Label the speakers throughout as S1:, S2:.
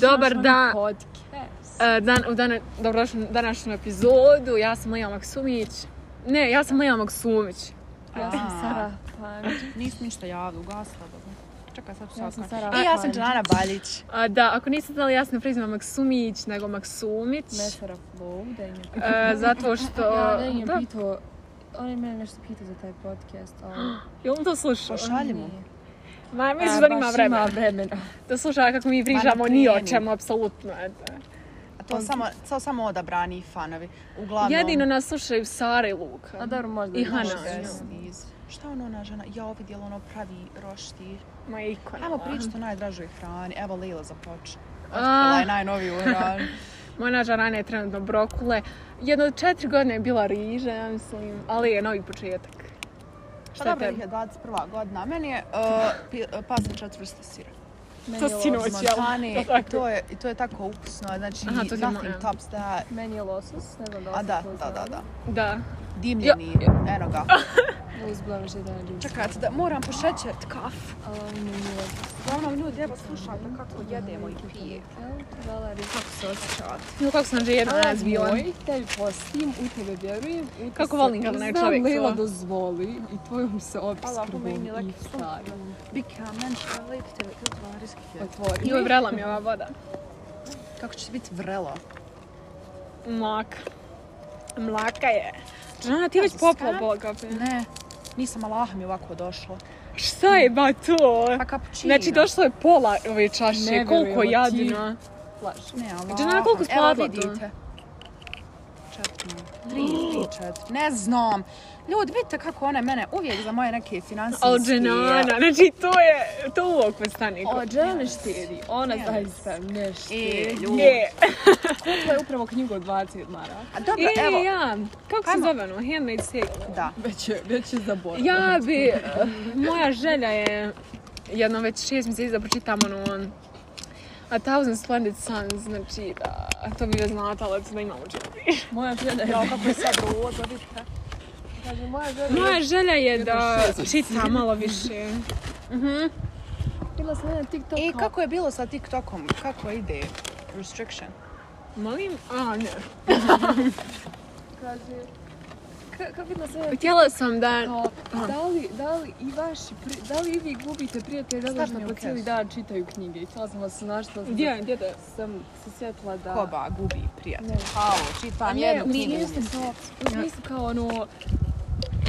S1: Dobar dan.
S2: Podcast.
S1: E, Dan, u dana, dobrodošli u današnju epizodu. Ja sam Lija Maksumić. Ne, ja sam Lija Maksumić.
S2: Ja sam Sara Panđić.
S3: Nisam ništa javila, ugasila dobro. Čekaj, sad ću
S2: Ja sam Sara
S3: I ja sam
S2: Panđić.
S3: Džanana Baljić.
S1: A, da, ako niste znali, ja sam prezima Maksumić, nego Maksumić.
S2: Ne Sara Flow, da im je pitao.
S1: E, zato što...
S2: Ja, da im je
S1: Da,
S2: pitao. On je mene nešto pitao za taj podcast, ali...
S1: jel on to slušao?
S3: Pošaljimo.
S2: nije.
S1: Ma,
S2: A,
S1: mislim da nima
S2: E, baš
S1: vremena.
S2: Ima vremena.
S1: Da sluša kako mi pričamo ni o
S3: kreni.
S1: čemu, apsolutno. eto.
S3: A to samo, to samo odabrani fanovi. Uglavnom...
S1: Jedino nas slušaju Sara i Luka.
S2: Pa, A dobro, možda
S1: I
S2: ne
S1: Hana.
S2: možda.
S3: Šest niz. Šta ono ona žena? Ja ovo djelo ono pravi rošti.
S1: Ma ikona.
S3: Ajmo pričati o najdražoj hrani. Evo Lila započe.
S1: A.
S3: Otkrila je najnoviju hranu.
S1: Moja žarana je trenutno brokule. Jedno od četiri godine je bila riža, ja mislim. Ali je novi početak.
S3: Pa
S1: Šta je
S3: dobro,
S1: tebi?
S3: ih je 21. godina. Meni je uh, pi- uh, pasan četvrsta sira.
S2: Meni
S1: To
S2: je
S1: si
S2: loš.
S1: sinoć. Hoće, jel?
S3: Montane,
S1: To tako.
S3: to je, i to je tako ukusno. Znači,
S1: Aha, to ti je
S3: nothing
S1: moja.
S3: tops that.
S2: Meni je losos, ne znam da li
S3: A
S2: ste
S3: da,
S2: to
S3: da, da,
S2: znali.
S3: da.
S1: Da.
S3: Dimljeni, eno ga.
S2: Uz blanži da nađem.
S3: Čekajte, da moram pošećert kafu.
S2: Ali on mi je losos.
S3: Uglavnom, ljudi, evo slušajte kako jedemo i pije.
S2: Valeri, kako se osjećate?
S1: No kako sam žena
S2: Ona
S1: nas bio.
S2: moj, tebi postim, u tebe vjerujem. u te
S1: Kako
S2: se-
S1: volim kad onaj
S2: Znam,
S1: čovjek to.
S2: Lila dozvoli i tvojom se
S3: Allahumma
S2: obskrbom
S3: inni lak
S2: i stavim.
S3: Bika, men šta lepite mi kroz varijski
S2: Otvori.
S1: Joj, vrela mi je ova voda. Pa,
S3: Kako će biti vrelo?
S1: Mlaka. Mlaka je. Žana, ti već
S3: Kaže,
S1: popla
S3: skan?
S1: boga. pe.
S3: Ne, nisam Allah mi ovako došlo.
S1: Šta je ba to?
S3: Pa kapućino.
S1: Znači, došlo je pola ove
S2: Ne
S1: čaše,
S2: vjerujem,
S1: koliko
S2: ti.
S1: jadno.
S2: Lažem.
S3: Ne, Allah.
S1: Džana, Znači, koliko
S3: Evo,
S1: skladla to?
S3: vidite. Četiri. Tri, tri, četiri. Ne znam. Ljudi, vidite kako ona mene uvijek za moje neke financijske...
S1: Al dženana, znači to je, to u okvir stani.
S2: O, žena ne štedi, ona
S3: Ne.
S2: zaista ne
S3: E,
S2: štedi.
S3: ljudi.
S1: Je.
S2: Kupila je upravo knjigu od 20 maraka.
S3: A dobro,
S1: I
S3: evo.
S1: ja, kako se
S3: Ajmo.
S1: zove ono, Handmaid's Tale?
S3: Da.
S2: Već je, već je zaboravila.
S1: Ja bi, eh, moja želja je jedno već šest mjeseci da pročitam ono A Thousand Splendid Suns, znači da, to bi joj znatalac da imamo četiri.
S2: Moja žena je...
S3: Ja, kako je sad roza, vidite.
S2: Kaže, moja žena je...
S1: Moja želja je da čitam malo više. Mhm.
S2: Bila sam na TikToku.
S1: E,
S3: I E, kako je bilo sa TikTokom? Kako ide restriction? molim?
S1: A, ne.
S2: Kaže... Ka- Kako bila sam na
S1: Htjela sam da...
S2: kao, da li, da li i vaši, pri- da li i vi gubite prijatelje zato što
S3: Stavno
S2: po
S3: u
S2: cijeli
S3: kesu.
S2: dan čitaju knjige i htjela sam vas našla,
S1: Gdje, gdje da?
S2: sam se sjetila da...
S3: Koba gubi prijatelj.
S2: Ne.
S3: Halo,
S2: Pa
S3: čitam
S2: ne,
S3: jednu
S2: u
S3: knjigu.
S2: smislu kao, u smislu kao ono,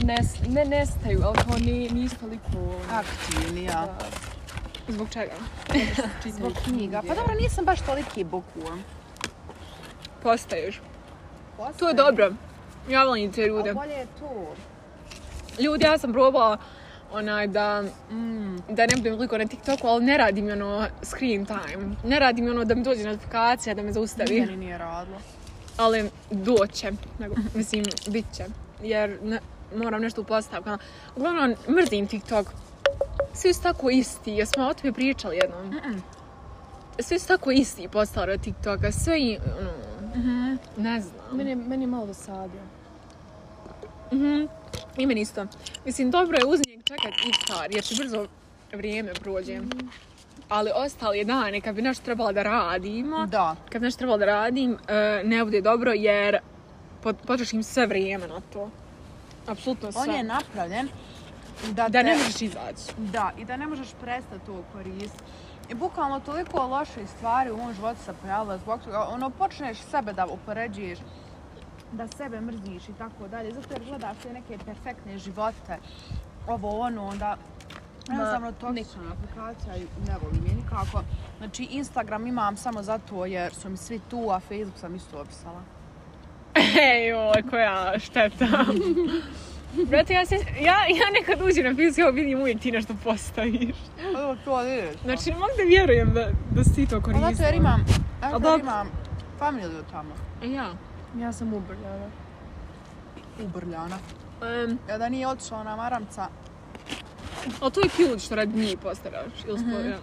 S2: nes- ne nestaju, ali kao ni, nisu toliko ono,
S3: Aktivni, ja.
S2: da
S1: Zbog čega?
S2: čitaju
S3: Zbog knjiga. Pa dobro, nisam baš toliki bookworm.
S1: Postaješ. To je dobro. Ja volim te ljude.
S3: A bolje je to.
S1: Ljudi, ja sam probala onaj da,
S3: Mm.
S1: da ne budem toliko na TikToku, ali ne radim ono screen time. Ne radim ono da mi dođe notifikacija, da me zaustavi.
S3: Meni nije radilo.
S1: Ali doće, nego, mislim, bit će. Jer ne, moram nešto u postavkama. Uglavnom, mrzim TikTok. Svi su tako isti, jer smo o tome pričali jednom. Svi su tako isti postali od TikToka, sve i, ono, ne znam.
S2: Meni, je- meni je malo dosadio.
S1: Mhm. I meni isto. Mislim, dobro je uz njeg čekat iftar, jer će brzo vrijeme prođe. Ali ostali dane, kad bi nešto trebala da radimo,
S3: Da.
S1: kad bi nešto trebala da radim, e, ne bude dobro jer pot- potrošim sve vrijeme na to. Apsolutno sve.
S3: On je napravljen da,
S1: Da
S3: te-
S1: ne možeš izaći.
S3: Da, i da ne možeš prestati to koristiti. I bukvalno toliko loših stvari u mom životu se pojavila zbog toga. Ono, počneš sebe da upoređuješ, da sebe mrziš i tako dalje. Zato jer gledaš te neke perfektne živote, ovo ono, onda jednostavno toksična aplikacija i ne volim je nikako. Znači Instagram imam samo zato jer su mi svi tu, a Facebook sam isto opisala.
S1: Ej, joj, koja šteta. Brate, ja, se, ja, ja nekad uđem na Facebook, evo vidim uvijek ti nešto postaviš.
S3: Evo to vidiš.
S1: Znači, ne mogu da vjerujem da, da si ti to koristila.
S3: Ono zato jer imam, zato
S1: dobro.
S3: jer imam familiju tamo.
S1: E, Ja.
S2: Ja sam ubrljana.
S3: U Brljana.
S1: Em,
S3: Ja da nije otišla ona maramca,
S1: Ali to je cute što radi njih postaraš ili
S3: Mhm.
S1: mm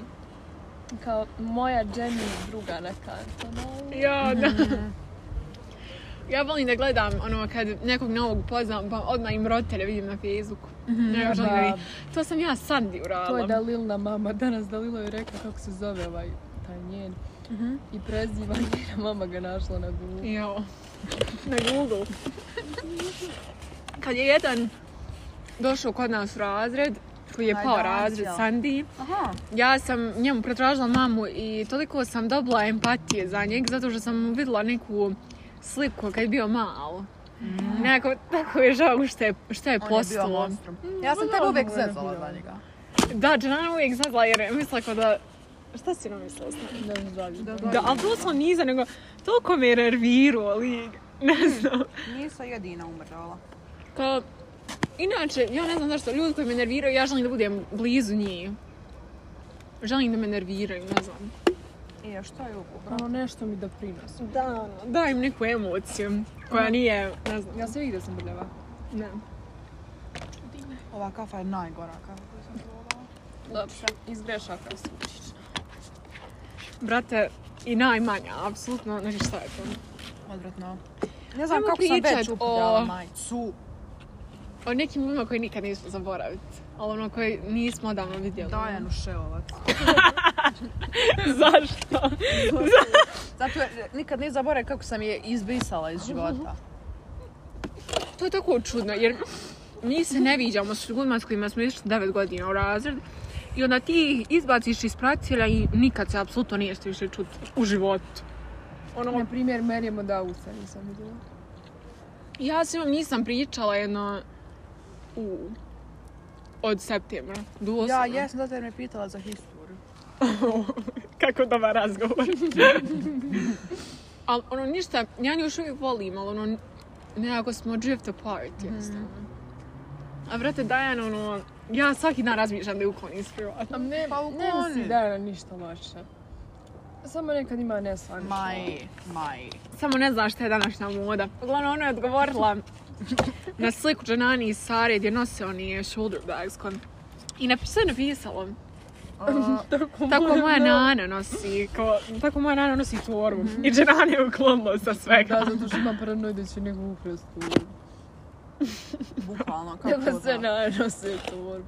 S2: Kao moja Jenny druga na kartu.
S1: Ja, da. Ja volim da gledam ono kad nekog novog poznam pa odmah im roditelje vidim na Facebooku.
S3: Mhm,
S1: Ne, želim da
S2: da.
S1: vidim. to sam ja Sandi uradila.
S2: To je Dalilna mama. Danas Dalila je rekla kako se zove ovaj taj njen
S3: Mhm.
S2: i preziva, njena mama ga našla na Google.
S1: Jo. Na Google. Kad je jedan došao kod nas u razred, koji je
S3: Aj,
S1: pao
S3: Dacio.
S1: razred, Sandi,
S3: Aha.
S1: ja sam njemu pretražila mamu i toliko sam dobila empatije za njeg, zato što sam vidjela neku sliku kad je bio mal. Nekako, tako je žao što je, što je
S3: Mm. On je bio
S1: postalo.
S3: monstrum. Ja sam
S1: ono
S3: tebe uvijek
S1: je bio.
S3: zezala za njega.
S1: Da, Džanana uvijek znala jer je mislila kao da... Šta si nam mislila s nama?
S2: Da, žali.
S3: Da,
S1: Da, ali doslovno nisam, nego toliko me je nervirao lik. Ne znam.
S3: Nisam jedina umrla.
S1: Hmm. Kao, inače, ja ne znam zašto, ljudi koji me nerviraju, ja želim da budem blizu njih. Želim da me nerviraju, ne znam.
S3: I E, što je ovo, bro?
S2: Ono nešto mi doprinosi.
S1: Da, ono, dajem neku emociju koja nije, ne znam,
S2: Ja se vidi da sam brljava.
S1: ne.
S3: Ova kafa je najgora kafa koju sam probala.
S2: Dobro, iz grešaka se učiš.
S1: Brate, i najmanja, apsolutno, znači šta je to?
S3: Odvratno. Ne znam
S1: Ajmo
S3: kako sam
S1: pričat
S3: već
S1: o-
S3: upljala majicu.
S1: O nekim ljudima koji nikad nismo zaboraviti, ali ono koji nismo odavno vidjeli.
S3: Dajanu Šeovac.
S1: Zašto?
S3: Zato jer nikad ne zaboravim kako sam je izbrisala iz života.
S1: To je tako čudno, jer mi se ne viđamo s ljudima s kojima smo išli 9 godina u razred i onda ti ih izbaciš iz pratila i nikad se apsolutno nije ste više čuti u životu.
S2: Na primjer, Mary Modausa nisam vidjela.
S1: Ja s njom nisam pričala jedno u, od septembra. Doslovno.
S3: Ja jesam zato jer me pitala za historiju.
S1: Kako dobar razgovor. ali ono ništa, ja nju još uvijek volim, ali ono nekako smo drift apart jednostavno. A vrate Dajana, ono, ja svaki dan razmišljam da je uklonim iz privata.
S2: A ne,
S3: Pa
S2: ne
S3: ukloni.
S2: misli da je ništa loše. Samo nekad ima neslanično.
S3: Maj, maj.
S1: Samo ne znaš šta je današnja moda. Uglavnom, ona je odgovorila na sliku Džanani i Sare gdje nose oni shoulder bags. Kon... I napi- sve je napisalo. Tako moja nana nosi, kao, tako moja nana nosi torbu. I Džanani je uklonila sa svega.
S2: Da, zato što ima paranoju da će nego ukrasti.
S3: Bukvalno, kako
S2: Kako se
S3: da.
S2: nanose to.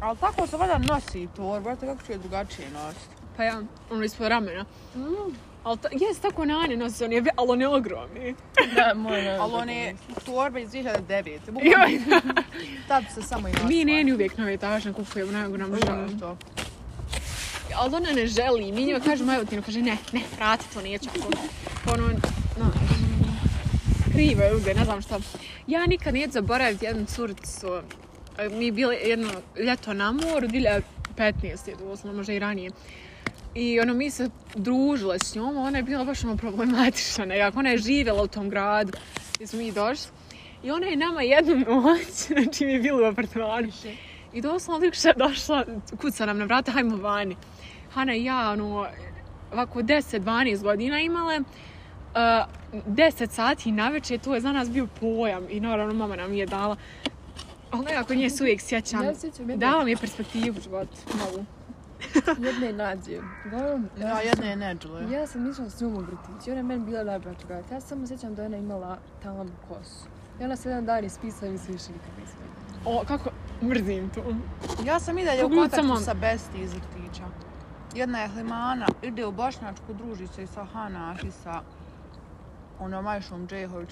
S3: Ali tako se valjda nosi i torbu, brate, kako ću je drugačije nositi?
S1: Pa ja, ono ispod ramena. Ali ta, jes, tako nane nosi, on je, ve- ali on je ogromni.
S2: Da, mora.
S3: Ali one torbe iz 2009. Bukvalno,
S1: Joj,
S3: tad se samo i nosila.
S1: mi neni uvijek na vjetažne kupujemo, nego nam žao.
S3: Užasno to.
S1: Ali ona ne želi, mi njima kažemo, evo ti ona kaže, ne, ne, vrati to, neću. Ako, pa ono, no, krivo je uvijek, ne znam šta. Ja nikad neću zaboraviti jednu curicu, e, mi je bilo jedno ljeto na moru, 2015 je doslovno, možda i ranije. I ono, mi se družile s njom, ona je bila baš ono problematična nekako, ona je živjela u tom gradu gdje smo mi došli. I ona je nama jednu noć, znači mi je bilo u apartmanu, i doslovno Likša je došla, kuca nam na vrata, hajmo vani. Hana i ja, ono, ovako 10-12 godina imale, uh, 10 sati na večer, to je za nas bio pojam i naravno mama nam je dala. Ali nekako nje se uvijek sjećam.
S2: Ja se sjećam jedne,
S1: Dala mi je perspektivu život, novu.
S2: jedne nađe. Uglavnom,
S3: Ja, jedna je neđele.
S2: Ja sam išla s njom u vrtić i ona je meni bila najbolja drugarica. Ja se samo sjećam da je ona imala tamu kosu. I ona se jedan dan ispisala i mi se više nikad nisam vidjela.
S1: O, kako mrzim to.
S3: Ja sam i dalje u
S1: Koglu
S3: kontaktu
S1: samo-
S3: sa Besti iz vrtića. Jedna je Hlimana, ide u Bošnjačku, druži se i sa Hanah i sa onom Majšom Džehović.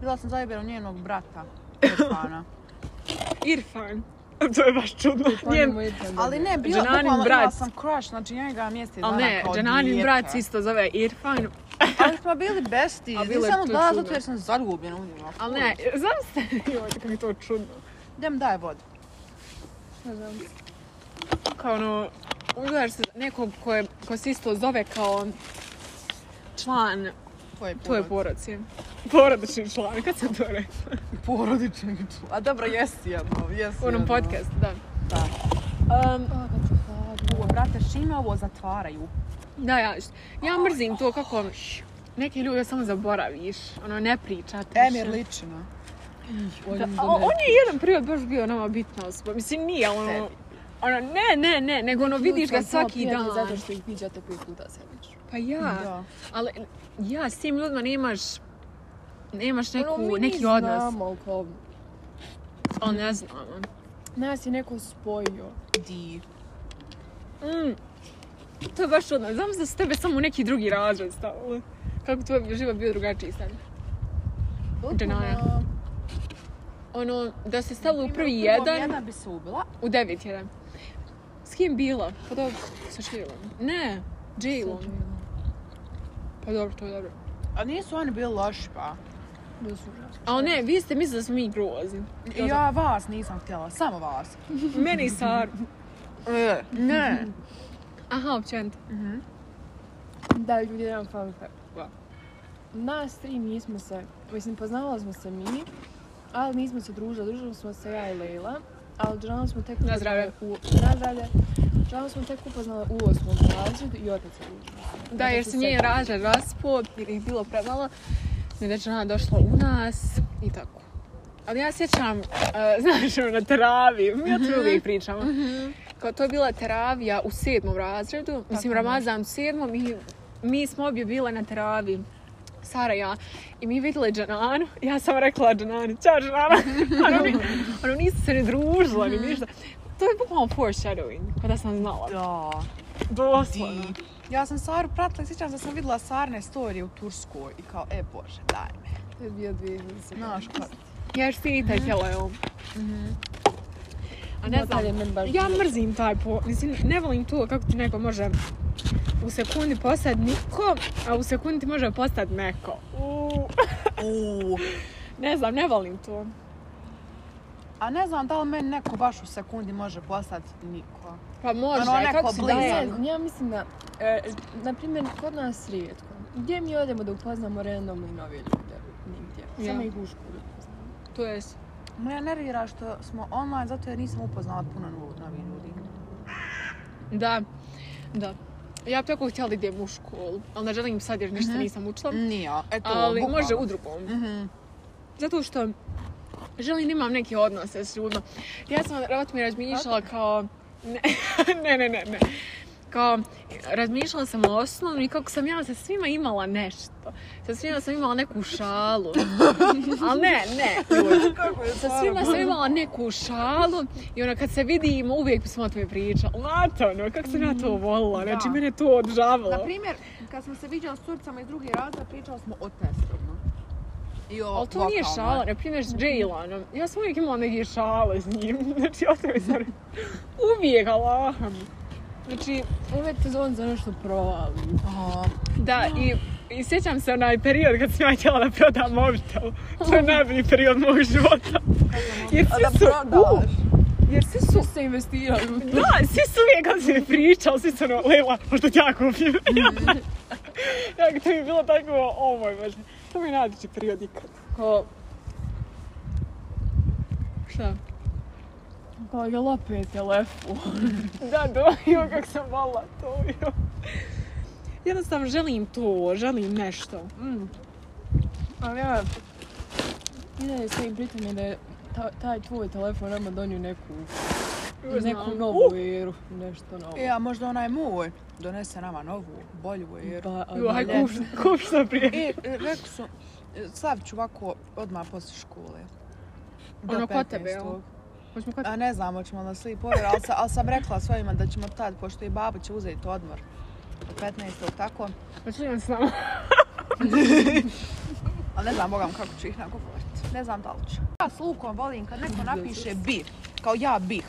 S3: Bila sam zajebila njenog brata, Irfana.
S1: Irfan. To je baš čudno.
S2: Pa
S1: Njen,
S2: njemu je to
S3: Ali
S2: dobro.
S3: ne, bila,
S1: Dženanin
S3: bukvalno, imala
S1: brat.
S3: sam crush, znači ja ga mjesec dana
S1: ali ne,
S3: kao
S1: Džananin
S3: dijete.
S1: brat se isto zove Irfan.
S3: Ali smo bili besti,
S1: A bilo je
S3: nisam
S1: to
S3: odlazila
S1: čudno.
S3: zato jer sam zaljubljena u njima.
S1: Ali ne, znam se, joj, kako mi je to čudno.
S3: Idem daj vodu.
S2: Ne znam.
S1: kao ono, udaš se za nekog ko, je, ko se isto zove kao član
S3: Tvoje
S1: tvoje porodice. Porodični član, kad sam to rekla?
S3: porodični član. A dobro, jesi jedno, jesi
S1: U onom
S3: jedno.
S1: podcastu, da.
S3: Da.
S1: Um,
S2: A, kad se hladno.
S3: Ovo, brate, šime ovo zatvaraju.
S1: da, ja, ja mrzim to kako ono, neke ljude samo zaboraviš, ono, ne pričate.
S3: Emir Ličina.
S1: Da,
S2: Volim da
S1: a
S2: ne-
S1: on je jedan period baš bio nama bitna osoba. Mislim, nije ono...
S3: Tebi.
S1: Ono, ne, ne, ne, nego ono vidiš ga
S2: Ljudi su vam
S1: svaki
S2: prijatelji
S1: dan.
S2: Zato što ih viđate pet puta sedmično.
S1: Pa ja,
S3: Da.
S1: ali ja s tim ljudima nemaš, nemaš neku,
S2: Ono, mi
S1: neki
S2: ne
S1: odnos.
S2: znamo, ali kao,
S1: Ali ne znam. ono.
S2: nas je neko spojio.
S3: Di.
S1: Mm. To je baš ono, znam da su tebe samo u neki drugi razred stavili. Kako tvoj život bio drugačiji sad? Denial.
S3: Potpuno-
S1: Ono, da se stavili u prvi
S3: Primjer, od prvog
S1: jedan,
S3: Jedna bi se ubila.
S1: u devet jedan. S kim bila? Pa dobro, sa Shilom. Ne, Jailom. Pa dobro, to je dobro.
S3: A nisu oni bili loši pa.
S2: Bilo su užasno.
S1: A ne, vi ste mislili da smo mi grozni. Dobro.
S3: Ja vas nisam htjela, samo vas.
S1: Mene i Saru.
S3: E, Ne.
S1: Aha, općenito.
S3: Mhm.
S2: Da, ljudi, jedan fun fact. Nas tri nismo se, mislim, poznavali smo se mi, ali nismo se družili. Družili smo se ja i Leila, ali žalno smo tek...
S1: Na zdravlje.
S2: upoznale U, na zdravlje. Žalno smo tek upoznali u osmom razredu i opet se družili.
S1: Da, jer se njen razred raspo, jer ih bilo premalo. Nedečana došla u nas i tako. Ali ja sjećam, uh, znaš, ono, na teravi, mi o tome uvijek pričamo. Kao to je bila teravija u sedmom razredu, mislim Ramazan u sedmom i mi smo obje bile na teravi. Sara i ja. I mi vidjeli Džananu. Ja sam rekla Džanani, čao Džanana. ono, ni- ono nisu se ne družila ni ništa. To je bukvalno foreshadowing, kada sam znala.
S3: Da.
S1: Doslovno.
S3: Ja sam Saru pratila i sjećam se da sam vidjela Sarne storije u Turskoj i kao, e bože, daj me.
S2: To je bio 2017.
S3: Znaš kao,
S1: Ja još pitaj tijelo, Mhm. A ne
S2: Ne znam,
S1: znam,
S2: je meni baš
S1: ja mrzim taj po... Mislim, ne volim to kako ti neko može u sekundi postati niko, a u sekundi ti može postati neko. Uuu.
S3: uuu.
S1: Ne znam, ne volim to.
S3: A ne znam da li meni neko baš u sekundi može postati niko.
S1: Pa može,
S3: Ono, neko
S1: kako si
S3: blizak.
S1: danas?
S2: Ne znam, ja mislim da, e, na primjer, kod nas rijetko. Gdje mi odemo da upoznamo randomni nove ljude? Nigdje. Samo
S1: Ja.
S2: ih u školi upoznamo.
S1: To je...
S3: Mene nervira što smo online zato jer nisam upoznala puno nu- novih ljudi.
S1: Da, da. Ja bi tako htjela da idem u školu, ali ne želim sad jer ništa
S3: Mhm.
S1: nisam učila.
S3: Nije, eto, Mhm.
S1: Ali može u
S3: udružiti.
S1: drugom. Zato što želim da imam neke odnose s ljudima. Ja sam vjerovatno mi razmišljala kao... Ne, ne, ne, ne, ne. Kao, razmišljala sam o osnovnom i kako sam ja sa svima imala nešto. Sa svima sam imala neku šalu. Ali ne, ne. ljudi. Sa svima sam imala neku šalu i ono kad se vidimo uvijek smo o tome pričali. Znate ono, kako sam ja to volila. Znači,
S3: Mm. Da.
S1: mene je to odžavalo.
S3: Na primjer, kad smo se viđali s curicama iz druge razreda, pričali smo o testovima. I o
S1: Ali to nije
S3: vokalnoj.
S1: šala, na primjer s Jaylanom. Ja sam uvijek imala neke šale s njim. Znači, ja sam sam... Uvijek, Allahom. Znači,
S2: Uvijek te zovem za nešto provali.
S3: Aha.
S1: da, i, i sjećam se onaj period kad sam ja htjela da prodam mobitel. To je najbolji period mog života. Jer
S3: A da
S1: svi su...
S3: prodaš.
S1: jer svi su...
S2: se investirali u to.
S1: Da, svi su uvijek kad se pričali, svi su ono, Lejla, možda ti ja kupim. Ja, to mi je bilo tako, o moj bože. To mi je najljepši period ikad. Ko... Šta?
S2: Kao je opet telefon.
S1: Da, dojio kako sam volila to. jo. Jednostavno želim to, želim nešto.
S2: Ali ja... I da je sve i pritom je da je ta- taj tvoj telefon nama donio neku,
S1: Uh!
S2: neku novu eru, nešto novo.
S3: E, a možda onaj moj donese nama novu, bolju jer...
S2: Pa, a
S1: Uh, Juhaj,
S2: ne-
S1: kup, kup što prije.
S3: E, e, rekli su, e, stavit ću ovako odmah poslije škole. Do
S1: Ono kod tebe,
S3: 15.
S1: jel? Hoćemo kod...
S3: A ne znam, hoćemo na sleep over, ali, sa- ali sam rekla svojima da ćemo tad, pošto i baba će uzeti odmor. do 15. tako.
S1: Hoćemo imam pa s nama.
S3: Ali ne znam, bogam, kako ću ih nagovoriti. Ne znam da li ću. Ja s Lukom volim kad neko napiše bi, kao ja bih.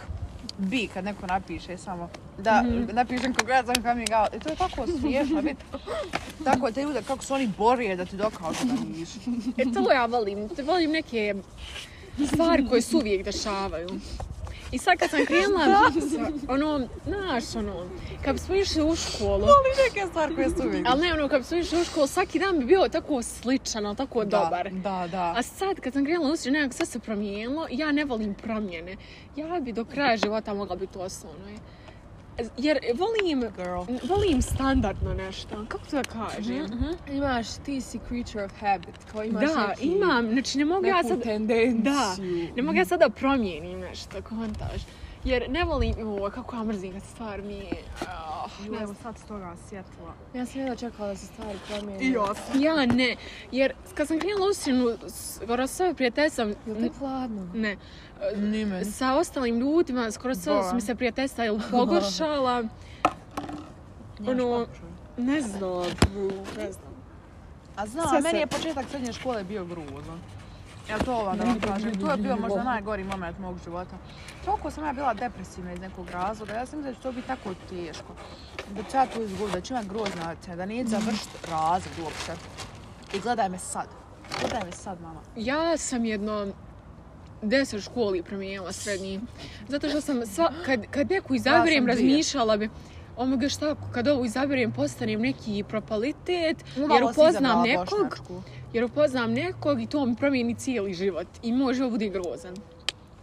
S3: Bi kad neko napiše samo da napišem koga ja sam coming out. I to je tako smiješno biti. Tako te ljude kako se oni borije da ti dokažu da nisi.
S1: E, to ja volim. Te volim neke stvari koje su uvijek dešavaju. I sad kad sam krenula, ono, znaš, ono, kad smo išli u školu,
S3: Ali neke stvari koje su uvijek.
S1: ali ne, ono, kad smo išli u školu, svaki dan bi bio tako sličan, ali tako dobar.
S3: Da, da.
S1: A sad kad sam krenula u sreću, nekako sve se promijenilo, ja ne volim promjene. Ja bi do kraja života mogla biti osnovno. je. Jer volim,
S3: Girl.
S1: volim standardno nešto. Kako to da kažem?
S2: Imaš, ti si creature of habit, kao Mhm, imaš
S1: Da,
S2: neki,
S1: imam. Znači ne mogu ja
S2: neku
S1: sad...
S2: tendenciju.
S1: Da, ne mogu ja sad da promijenim nešto, kontaž. Jer ne volim, joj, kako ja mrzim kad se stvar mi je... ah,
S3: Ju, evo sad s toga sjetila.
S2: Ja sam jedno čekala da se stvari promijene.
S1: Ja ne, jer kad sam krenula u sinu, skoro sve prijateljstva...
S2: Jel te hladno?
S1: Ne,
S3: Nimen.
S1: sa ostalim ljudima, skoro sve
S3: Da.
S1: su mi se prijateljstva ili pogoršala. Ono, ne znam, ne znam.
S3: A znam,
S1: Sve
S3: meni
S1: se-
S3: je početak srednje škole bio grozan. Ja to ova da
S2: Meni
S3: vam
S2: je
S3: kažem,
S2: bilo
S3: to je bio
S2: bilo.
S3: možda najgori moment mog života. Toliko sam ja bila depresivna iz nekog razloga, ja sam mislila da će to biti tako teško. Da ću ja to izgubiti, da ću imat grozna ocjena, da
S1: Mhm.
S3: neću završiti razred uopšte. I gledaj me sad. Gledaj me sad, mama.
S1: Ja sam jedno deset školi promijenila srednji. Zato što sam sva, kad, kad neku izaberem,
S3: dvije.
S1: razmišljala bi omoga šta ako kad ovo izaberem postanem neki propalitet, jer
S3: Malo si
S1: upoznam
S3: izabrala
S1: nekog,
S3: bošnjačku.
S1: jer upoznam nekog i to mi promijeni cijeli život i moj život bude grozan.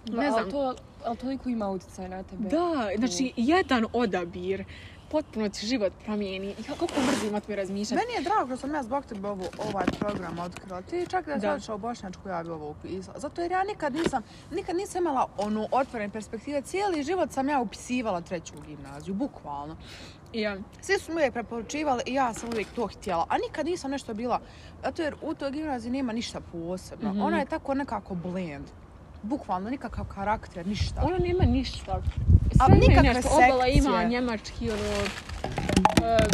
S2: Da,
S1: Ne znam.
S2: Ali, to, ali toliko ima utjecaj na tebe.
S1: Da, znači jedan odabir potpuno ti život promijeni. I kako mrzim o tome razmišljati.
S3: Meni je drago što sam ja zbog tebe ovo, ovaj program otkrila. Ti čak da si
S1: Da.
S3: odšla u Bošnjačku, ja bi ovo upisala. Zato jer ja nikad nisam, nikad nisam imala onu otvorene perspektive. Cijeli život sam ja upisivala treću gimnaziju, bukvalno.
S1: Ja.
S3: Svi su mi uvijek preporučivali i ja sam uvijek to htjela. A nikad nisam nešto bila, zato jer u toj gimnaziji nema ništa posebno.
S1: Mhm.
S3: Ona je tako nekako blend. Bukvalno nikakav karakter, ništa.
S1: Ona ono nema ništa.
S3: A
S1: Sve ima
S3: nikakve
S1: nešto. Obala
S3: sekcije.
S1: ima njemački, ono,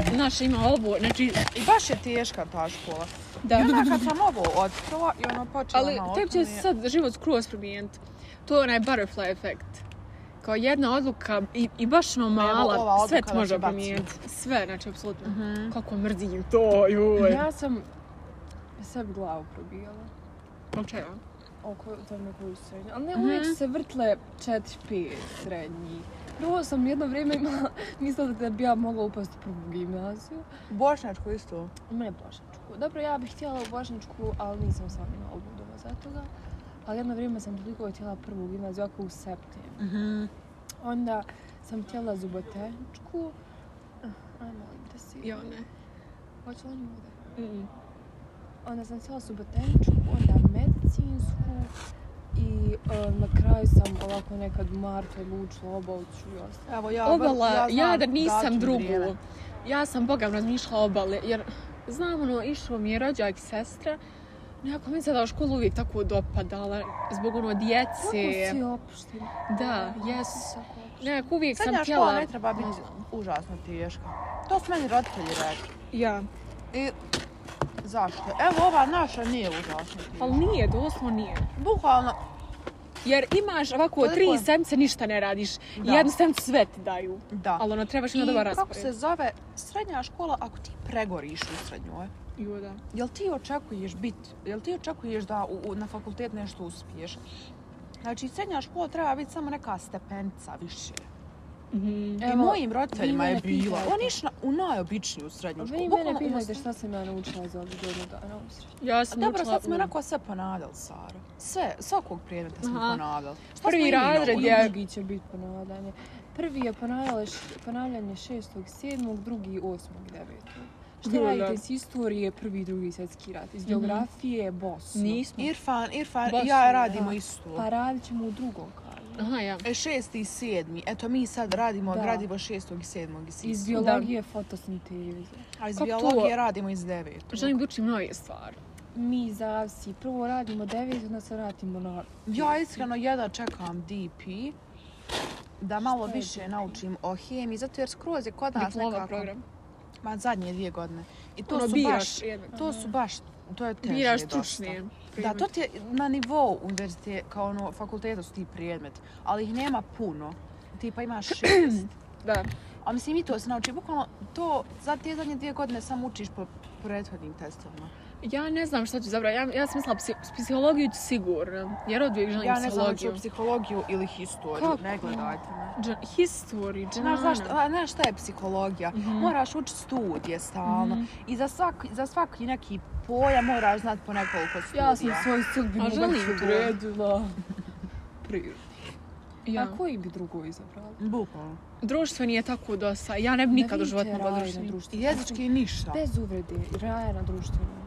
S1: e, naša ima ovo, znači,
S3: I baš je teška ta škola.
S1: da.
S3: I onda kad sam ovo otkrila i ono počela
S1: Ali
S3: malo
S1: tebi
S3: to mi
S1: će
S3: je-
S1: se sad život skroz promijeniti. To je onaj butterfly efekt. Kao jedna odluka i, i baš ono
S3: Evo, ova
S1: mala, sve
S3: odluka
S1: ti
S3: da
S1: može
S3: se bacim.
S1: promijeniti. Sve, znači, apsolutno.
S3: Mhm.
S1: Kako mrzim to, joj.
S2: Ja sam sebi glavu probijala.
S1: Zbog čega?
S2: oko tome koju srednju. Ali ne,
S1: Mhm.
S2: uvijek su se vrtle 4-5 srednji. Prvo sam jedno vrijeme imala, mislila da bi ja mogla upasti u prvu gimnaziju.
S3: Bošnjačku isto.
S2: U mene Bošničku. Dobro, ja bih htjela u Bošničku, ali nisam sam imala obudova za toga. Ali jedno vrijeme sam toliko htjela prvu gimnaziju, ako u septembru.
S3: Mhm.
S2: Onda sam htjela zubotehničku. Ah, Aj, molim te si.
S1: Ja ne.
S2: Hoće li oni ovdje?
S1: Mm.
S2: Onda sam htjela su botaničku, onda medicinsku i e, na kraju sam ovako nekad u martu odlučila oba odću i ostalo.
S3: Evo ja,
S1: Obala, ja,
S3: znam
S1: da nisam
S3: datum,
S1: drugu.
S3: vrijeme.
S1: Ja sam Bogam razmišljala obale, jer znam ono, išlo mi je rođak i sestra, nekako mi se da školu uvijek tako dopadala, zbog ono
S2: Kako
S1: djece.
S2: si opština?
S1: Da, jes.
S2: Kako opština?
S1: Nekako uvijek sam
S3: Srednja škola
S1: htjela...
S3: ne treba biti
S1: Ne znam.
S3: užasno teška. To su meni roditelji rekli.
S1: Ja.
S3: I zašto? Evo ova naša nije užasno teška.
S1: Ali nije, doslovno nije.
S3: Bukvalno,
S1: Jer imaš ovako
S3: Koliko je?
S1: tri semce, ništa ne radiš.
S3: Da.
S1: I jednu semcu sve ti daju.
S3: da.
S1: Ali ono, trebaš
S3: I
S1: imati dobar
S3: kako
S1: raspored.
S3: se zove srednja škola ako ti pregoriš u srednjoj?
S1: Jo, da.
S3: Jel ti očekuješ biti, jel ti očekuješ da u, u- na fakultet nešto uspiješ? Znači, srednja škola treba biti samo neka stepenca više.
S1: Mhm.
S3: I
S2: Evo,
S3: mojim roditeljima
S2: vi
S3: je
S2: mene
S3: bila.
S2: pitajte.
S3: On je išla u najobičniju srednju školu.
S2: Vi mene
S3: bukvalno u
S2: pitajte
S3: Mostar-
S2: šta sam ja naučila iz ovih godinu dana u srednjoj.
S1: Ja
S3: A
S1: sam
S3: dobro,
S1: učila
S3: sad smo
S1: u-
S3: onako sve ponavljali, Saro. Sve, svakog predmeta smo
S1: Aha.
S3: ponavljali. Šta
S1: Prvi
S3: smo i mi
S1: razred
S3: naučili?
S1: je-
S2: Drugi će biti ponavljanje. Prvi je ponavljanje, ponavljanje 6. 7. drugi 8. 9. Šta
S1: Jo, da. Mhm.
S2: radite iz istorije, prvi i drugi svjetski rat, iz geografije, Bosnu.
S1: Nismo.
S3: Irfan, Irfan
S1: Baš
S3: i ja
S1: ne,
S3: radimo
S2: da. Pa
S3: isto.
S2: radit ćemo u drugom kažu.
S1: Aha, ja.
S3: E, šesti i sedmi. Eto, mi sad radimo
S2: Da.
S3: gradivo šestog i sedmog i
S2: Iz
S3: sitnog.
S2: biologije fotosinteze.
S3: A iz
S1: Kako to?
S3: biologije radimo iz devetog.
S1: Želim da učim nove stvari.
S2: Mi iz Avsi prvo radimo devet, onda se vratimo na...
S3: Ja iskreno jedva čekam DP da malo
S2: Šta je
S3: više
S2: DP?
S3: naučim o hemiji, zato jer skroz je kod nas
S1: Diploma
S3: nekako...
S1: program.
S3: Ma zadnje dvije godine. I to
S1: Ono,
S3: su
S1: biraš
S3: baš...
S1: jedan.
S3: To su baš... To je teže
S1: Biraš
S3: dosta.
S1: stručne.
S3: Da,
S1: predmete.
S3: to ti je na nivou univerziteta, kao ono, fakulteta su ti predmet, ali ih nema puno. Tipa imaš šest.
S1: Da.
S3: A mislim i to se nauči, bukvalno to za te zadnje dvije godine samo učiš po prethodnim testovima.
S1: Ja ne znam šta ću zabrati. Ja, ja sam mislila psi- psihologiju ću sigurno. Jer odvijek želim
S3: Ja ne znam hoću
S1: psihologiju.
S3: psihologiju ili historiju,
S1: Kako?
S3: ne gledajte me.
S1: Dž- history,
S3: Znaš,
S1: džana.
S3: zašto, a, znaš šta je psihologija?
S1: Mhm.
S3: Moraš učiti studije stalno
S1: Mhm.
S3: i za svaki, za svaki neki pojam moraš znati po nekoliko studija.
S2: Ja sam svoj sudbinu
S1: A želim
S2: već
S1: to.
S2: odredila. Prirodno.
S1: Ja.
S2: A koji bi drugo izabrala?
S3: Bukvalno.
S1: Društvo nije tako dosta. Ja ne bi nikad u
S2: Ne
S1: životu
S2: vidite
S1: mogla
S2: raja na
S1: društvo.
S2: društvenom.
S3: Jezički ništa.
S2: Bez uvrede, raja na društvenom.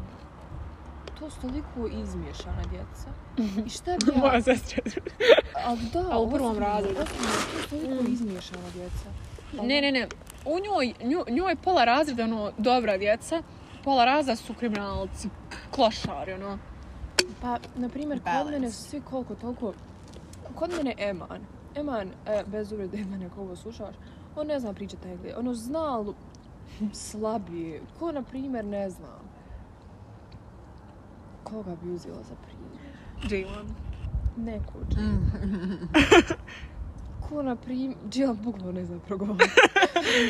S2: To su toliko izmiješana djeca. I šta bi ja...
S1: Moja sestra.
S2: Ali da,
S1: A u prvom
S2: osnovno,
S1: razredu.
S2: osnovno, To su toliko
S1: Mm.
S2: izmiješana djeca. Ali-
S1: Ne, ne, ne. U njoj, nju, njoj pola razreda ono, dobra djeca, pola razreda su kriminalci, klošari, ono.
S2: Pa, na primjer, kod
S3: Balance.
S2: mene su svi koliko toliko... Kod mene Eman. Eman, e, bez uvrede Eman, ako ovo slušaš, on ne zna pričati engleski. Ono, zna, ali slabiji. Ko, na primjer, ne znam. Koga bi uzela za primjer?
S1: J1.
S2: Neku Jill.
S1: Mhm.
S2: Ko, na primjer... Jill, bukvalno ne znam progovoriti.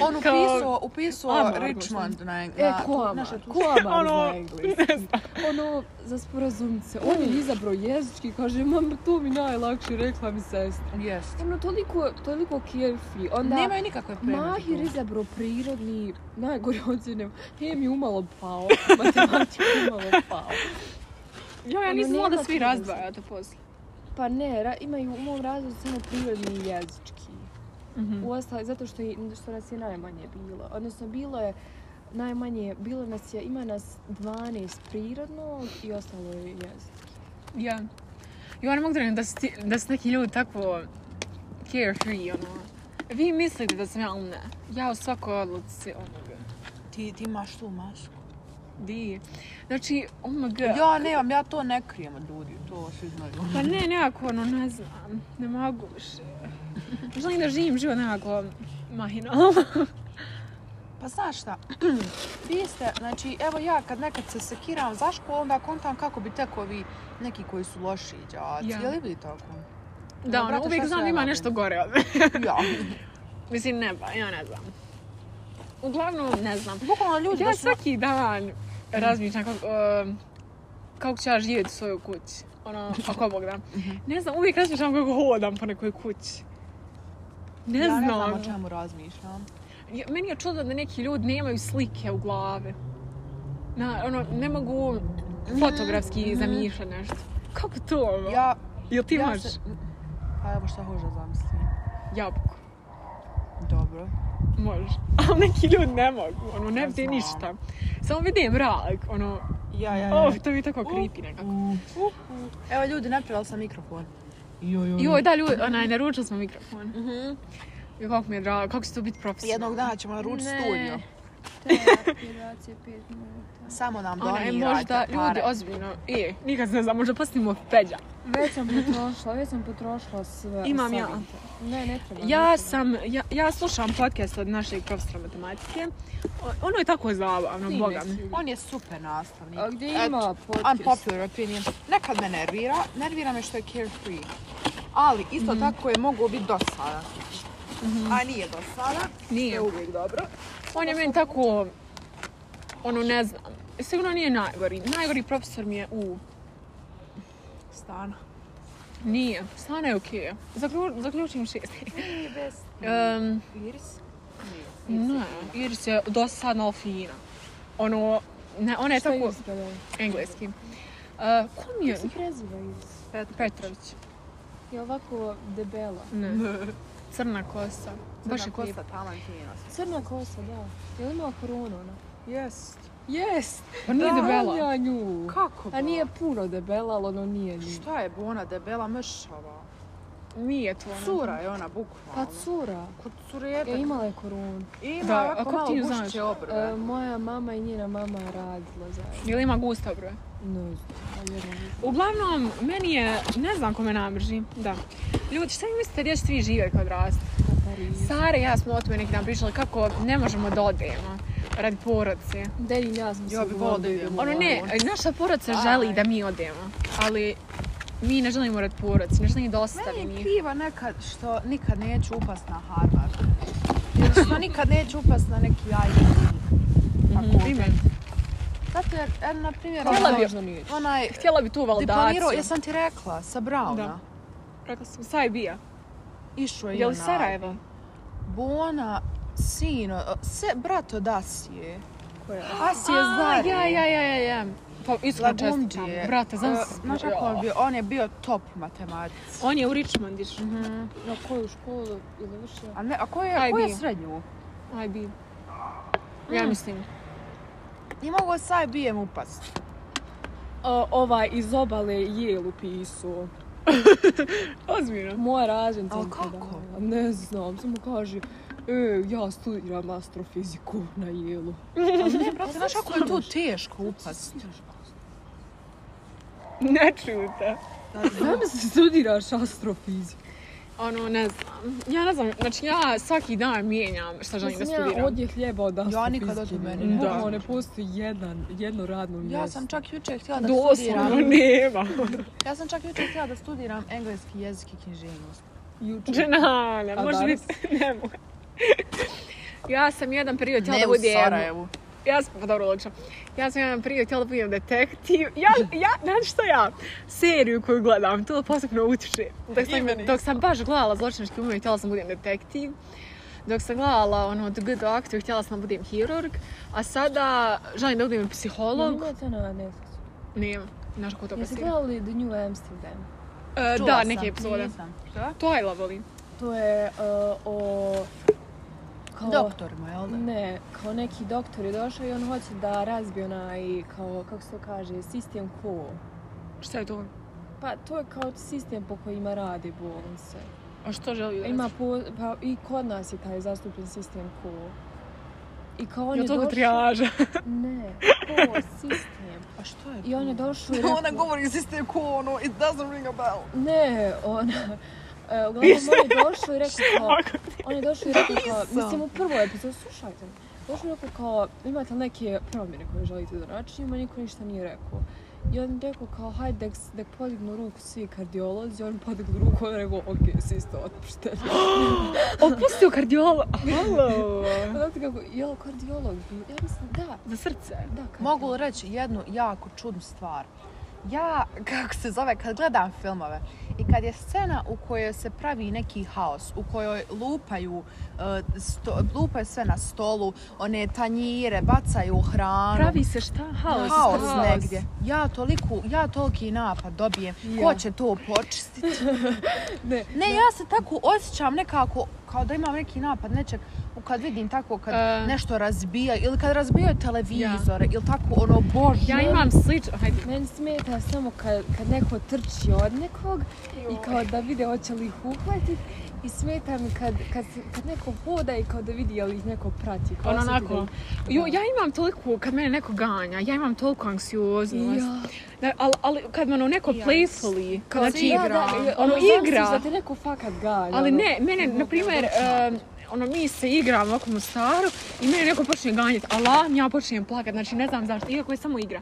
S3: On
S1: Kao-
S3: upisao, upisao
S1: Amar, možda.
S3: Richmond na, na
S2: E, ko Amar?
S3: naša tu-
S2: Ko Amar
S1: Ono,
S2: zna engleski? Ono, za sporazumce. On je izabrao jezički, kaže, mam, to mi najlakše, rekla mi sestra.
S3: Jest.
S2: Ono, toliko, toliko carefree. Onda...
S3: Nemaju nikakve predmete.
S2: Mahir izabrao prirodni, najgore ocjene, hem je umalo pao, matematika umalo pao.
S1: Jo, ja
S2: Ono,
S1: nisam znala da
S2: nema
S1: svi
S2: tu
S1: razdvajate poslije.
S2: Pa ne, ra, imaju u mom razredu samo prirodni i jezički.
S1: Mhm.
S2: Uostalom, zato što, je, što nas je najmanje bilo. Odnosno, bilo je najmanje, bilo nas je, ima nas 12 prirodnog i ostalo je jezik.
S1: Ja. Jo, ne mogu da vjerujem da su, ti, da su neki ljudi tako carefree, ono. Vi mislite da sam ja, ali ne. Ja u svakoj odluci, ono,
S3: Ti, ti imaš tu masku.
S1: di. Znači, oh my god.
S3: Ja nemam, ja to ne krijem od ljudi, to svi znaju.
S1: Pa ne, nekako, ono, ne znam. Ne mogu više. Želim da živim život nekako mahinalno.
S3: Pa znaš šta, vi ste, znači, evo ja kad nekad se sekiram za školu, onda kontam kako bi tek ovi neki koji su loši đaci,
S1: Ja.
S3: je li vi tako?
S1: Da, ono,
S3: brate,
S1: uvijek
S3: šta
S1: znam
S3: sve
S1: da ima
S3: radim?
S1: nešto gore od mene.
S3: Ja.
S1: Mislim, ne ba, ja ne znam. Uglavnom, ne znam.
S3: Bukvalno ljudi
S1: Ja
S3: da su...
S1: svaki dan razmišljam kako, em, kako ću ja živjeti u svojoj kući. Ono, ako Bog da.
S3: Mhm.
S1: Ne znam, uvijek razmišljam kako hodam po nekoj kući. Ne
S3: ja
S1: znam.
S3: ne znam o čemu razmišljam.
S1: Ja- Meni je čudno da neki ljudi nemaju slike u glavi. Na, ono, ne mogu fotografski
S3: Mhm.
S1: zamišljati nešto. Kako to ono?
S3: Ja,
S1: Jel ti
S3: ja
S1: imaš
S3: se- Pa evo šta hoćeš da zamislim.
S1: jabuku?
S3: Dobro.
S1: Može. Ali neki ljudi ne mogu, ono, ne
S3: Ja
S1: vidi
S3: znam. E.
S1: ništa. Samo vidim mrak, ono,
S3: Ja, ja, ja.
S1: oh, to mi tako creepy nekako.
S3: Evo ljudi, napravila sam mikrofon. Joj,
S1: Mm. Joj, da, ljudi, onaj, naručili smo mikrofon.
S3: Mm. Mhm.
S1: Joj, kako mi je drago, kako će to biti profesionalno.
S3: Jednog dana ćemo naručiti
S1: Ne.
S3: studio.
S2: Terapiracije 5 minuta.
S3: Samo nam
S1: Onaj,
S3: donirajte
S1: možda, ljudi,
S3: pare.
S1: ozbiljno, e, nikad se ne znam, možda postavimo Peđa.
S2: Već sam potrošila, već sam potrošila sve.
S1: Imam ja.
S2: savjete. Ne, ne treba.
S1: Ja
S2: ne treba.
S1: sam, ja, ja slušam podcast od našeg profesora matematike. O- Ono je tako zabavno,
S2: Ti
S1: boga mi.
S2: neki.
S3: On je super nastavnik.
S2: A gdje ima
S3: Eto,
S2: podcast?
S3: Unpopular opinion. Nekad me nervira, nervira me što je carefree. Ali isto tako je mogao biti dosadan. A nije dosadan,
S1: Nije.
S3: je uvijek dobro.
S1: On je meni tako, ono, ne znam. Sigurno nije najgori. Najgori profesor mi je u...
S3: Stana.
S1: Nije. Stana je okej. Zaklju- zaključim šest.
S3: Nije best.
S1: Em,
S3: Iris?
S1: ne, Iris je dosadna, ali fina. Ono, ne, ona je
S2: Šta
S1: tako...
S2: Irska, da?
S1: Engleski. Uh, ko
S2: Kako
S1: mi je?
S2: se preziva Iris?
S1: Petrović.
S2: Je ovako debela.
S1: Ne. Crna kosa. Baš je kosa.
S3: kosta taman fina.
S2: Crna kosa, da. Je li imala koronu ona?
S3: Jest.
S2: Jest!
S1: Pa nije debela.
S2: Ja nju.
S3: Kako
S2: A nije puno debela, ali ono nije nju.
S3: Šta je ona debela mršava?
S1: Nije to ono. ona.
S3: Cura je ona, bukvalno.
S2: Pa cura.
S3: Kod cureta.
S2: E, imala je koronu.
S3: Ima
S1: Da, a
S3: ovako
S1: kako
S3: malo
S1: ti ju znaš?
S3: gušće obrve.
S2: E, moja mama i njena mama je radila zajedno.
S1: Jel ima gusta broj?
S2: Ne znam, ali je radila.
S1: Uglavnom, meni je, ne znam kome namrži, da. Ljudi, šta vi mislite gdje ćete vi živjeti kad raste?
S2: Na Parizu.
S1: Sara i ja smo o tome neki dan pričali kako ne možemo da odemo radi porodce.
S2: Dedim ja sam
S3: Ja bi
S2: sigurno
S3: volila da
S2: da
S3: idem.
S2: idemo
S1: Ono ne,
S2: vani.
S1: znaš šta porodca
S3: Aj.
S1: želi da mi odemo, ali mi ne želimo radi porodce, ne želimo da ostavim
S3: Meni je
S1: ih.
S3: kriva nekad što nikad neću upast na Harvard. Ili što nikad neću upast na neki IT fakultet.
S1: Ime.
S3: Zato jer, er, na primjer,
S1: Mhm. Htjela
S3: ono-
S1: bi-
S2: Možda nije.
S3: onaj
S1: Htjela bi tu
S3: diplomirao,
S1: validaciju.
S3: jesam ti rekla, sa Brauna.
S1: Da. Rekla sam, Sajbija.
S3: Išao je
S1: Je li
S3: onaj
S1: Sarajevo?
S3: Bona, sino, se, brato Dasije.
S2: Koja?
S3: Asije
S1: A,
S3: Zdarije.
S1: Ja, ja, ja, ja, ja. Pa iskreno čestitam.
S3: Lagumdžije.
S1: Brate, znam
S3: E,
S1: se.
S3: Znaš kako on bio? On je bio top matematici.
S1: On je u Richmondišu.
S2: Na koju školu ili više?
S3: A, ne, a ko je,
S1: Aj,
S3: ko je
S1: bio.
S3: srednju?
S1: IB. Ja
S3: Mm.
S1: mislim.
S3: I mogu sa IBM upast.
S2: O, ovaj iz obale je upisao.
S1: Ozbiljno.
S2: Moja ražen
S3: Ali
S2: sam
S3: kako?
S2: predala. Ne znam, samo kaže, e, ja studiram astrofiziku na jelu.
S3: Ali Pa ne, brate, znaš kako je tu teško upast?
S1: Ne čujte.
S2: Znam se studiraš astrofiziku.
S1: ono, ne znam. Ja ne znam, znači ja svaki dan mijenjam šta želim da
S2: Mislim, ja
S1: studiram.
S2: ovdje hljeba od Asti
S3: Ja nikad od
S2: Piskine.
S3: mene.
S1: Da.
S2: Bukvalno ne postoji jedan, jedno radno mjesto.
S3: Ja sam čak jučer htjela da
S1: Doslovno
S3: studiram.
S1: nema.
S3: Ja sam čak jučer htjela da studiram engleski jezik i književnost.
S2: Jučer.
S1: Dženale,
S2: A
S1: može
S2: danas?
S1: biti, ne mogu. Ja sam jedan period htjela da budem... Ja sam, pa dobro, logično. Ja sam jedan period htjela da budem detektiv. Ja, ja, znači što ja, seriju koju gledam, to posebno utiče. Dok
S3: I meni
S1: sam, dok sam baš gledala zločinački umor, htjela sam da budem detektiv. Dok sam gledala ono The Good Doctor, htjela sam da budem hirurg. A sada želim da budem
S2: Jel
S1: psiholog.
S2: imate na Netflixu?
S1: Nema, znaš kako to
S2: Jesi
S1: postoji.
S2: gledali The New Amsterdam?
S1: E, da, neke epizode.
S3: Nisam. Šta?
S1: To je volim.
S2: To je uh, o... Kao,
S3: Doktorima, jel da?
S2: Ne, kao neki doktor je došao i on hoće da razbije onaj, kao, kako se to kaže, sistem ko?
S1: Šta je to?
S2: Pa to je kao sistem po kojima radi bolnice.
S1: A što želi da
S2: Ima po, pa i kod nas je taj zastupljen sistem ko. I kao on
S1: Ja
S2: je
S1: toga
S2: došao...
S1: trijaža.
S2: Ne, ko, sistem.
S3: A što je
S2: I on je
S3: to?
S2: došao i rekao...
S3: Ona govori siste ko ono, it doesn't ring a bell.
S2: Ne, ona... E, uglavnom, on je došao i rekao kao... On je došao i rekao kao...
S3: Nisam.
S2: Mislim, u prvoj epizodi, slušajte. me. Došao i rekao kao, imate li neke promjene koje želite da načinimo? Niko ništa nije rekao. I on je rekao kao, hajde, nek, nek podignu ruku svi kardiolozi. On podignu ruku, on je rekao, okej, svi ste otpušteni.
S1: Opustio kardiola. Halo.
S2: Znate kako, jel kardiolog bi? Ja mislim, da,
S1: Za srce.
S2: da, kardiolog.
S3: Mogu li reći jednu jako čudnu stvar? Ja, kako se zove, kad gledam filmove i kad je scena u kojoj se pravi neki haos, u kojoj lupaju, eh, sto, lupaju sve na stolu, one tanjire, bacaju hranu.
S1: Pravi se šta? Haos.
S3: haos negdje. Ja toliko, ja toliki napad dobijem.
S2: Ja.
S3: Ko će to počistiti?
S2: Ne,
S3: Ne, ja se tako osjećam nekako kao da imam neki napad nečeg u kad vidim tako kad
S1: E.
S3: nešto razbija ili kad razbijaju televizore ili tako ono bože.
S1: Ja imam slično. Hajde.
S2: Meni smeta samo kad, kad neko trči od nekog i kao da vide hoće li ih uhvatit i smeta mi kad, kad, se- kad neko hoda i kao da vidi je li ih neko prati. Kao
S1: Ono
S2: osjeti
S1: onako.
S2: da ih-
S1: Jo, ja imam toliko, kad mene neko ganja, ja imam toliko anksioznost.
S2: Ja.
S1: Da, ali, ali kad me ono neko
S3: Ja.
S1: playfully,
S3: Kao
S1: znači,
S3: igra.
S2: i-
S1: Ono,
S2: zamisliš
S1: igra.
S2: Da te neko fakat ganja.
S1: ali
S2: ono.
S1: ne, mene, na primjer, em, ono, mi se igramo oko Mostaru i mene neko počne ganjati, alarm, ja počnem plakat, znači ne znam zašto, iako je samo igra.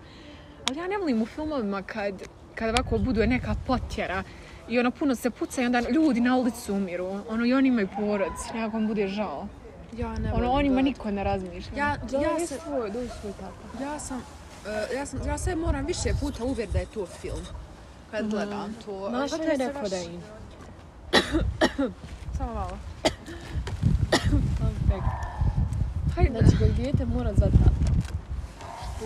S1: Ali ja ne volim u filmovima kad, kad ovako budu neka potjera i ono puno se puca i onda ljudi na ulicu umiru, ono i oni imaju porodci, nekako mi bude žao.
S3: ja ne
S1: Ono, o njima niko ne razmišlja.
S4: Ja,
S2: Da,
S4: ja,
S2: je
S4: se,
S2: svoj, dođi svoj tako.
S4: ja sam, e, ja sam, ja se moram više puta uvjeriti da je to film.
S3: Mhm.
S4: Kad gledam to.
S2: Znaš
S4: Vraća
S2: šta
S4: mi
S2: je
S4: se
S2: rekao
S4: baš-
S2: da je?
S3: Samo malo.
S1: Hajde.
S2: Znači, koji dijete mora za tata.
S3: Tu.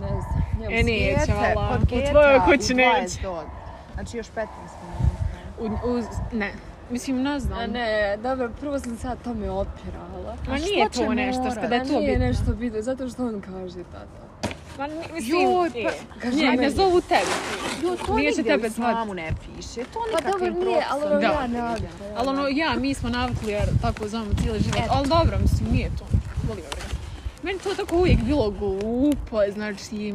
S2: Ne znam, njemu
S1: E, nije. Neće,
S3: Dijete,
S1: vala.
S3: kod
S1: U
S3: geta,
S1: tvojoj kući
S3: u
S1: neće.
S3: 20 od. Znači još 15 minuta.
S1: U, u, ne. Mislim, ne znam.
S2: A ne, dobro, prvo sam sad tome opirala.
S1: Ma
S3: A
S1: nije
S3: što će
S1: to nešto, što
S3: morat?
S1: da je to
S2: nije
S1: bitno.
S2: nešto bitno, zato što on kaže tata.
S1: Ma ni- mislim,
S3: Joj,
S1: e,
S3: pa-
S2: Kaže
S1: ne, ne
S2: meni.
S1: zovu tebi.
S3: Jo, to
S1: Nije će
S3: nigdje
S1: tebe
S3: u islamu ne piše. To
S2: Pa
S3: nikakvim
S2: dobro, nije, ali ono
S3: propisom.
S2: ja
S1: Da.
S2: ne
S1: Ali ono, ja, mi smo navikli jer tako zovemo cijeli život. Ali dobro, mislim, nije to. Boli ga briga. Meni to tako uvijek bilo glupo, znači,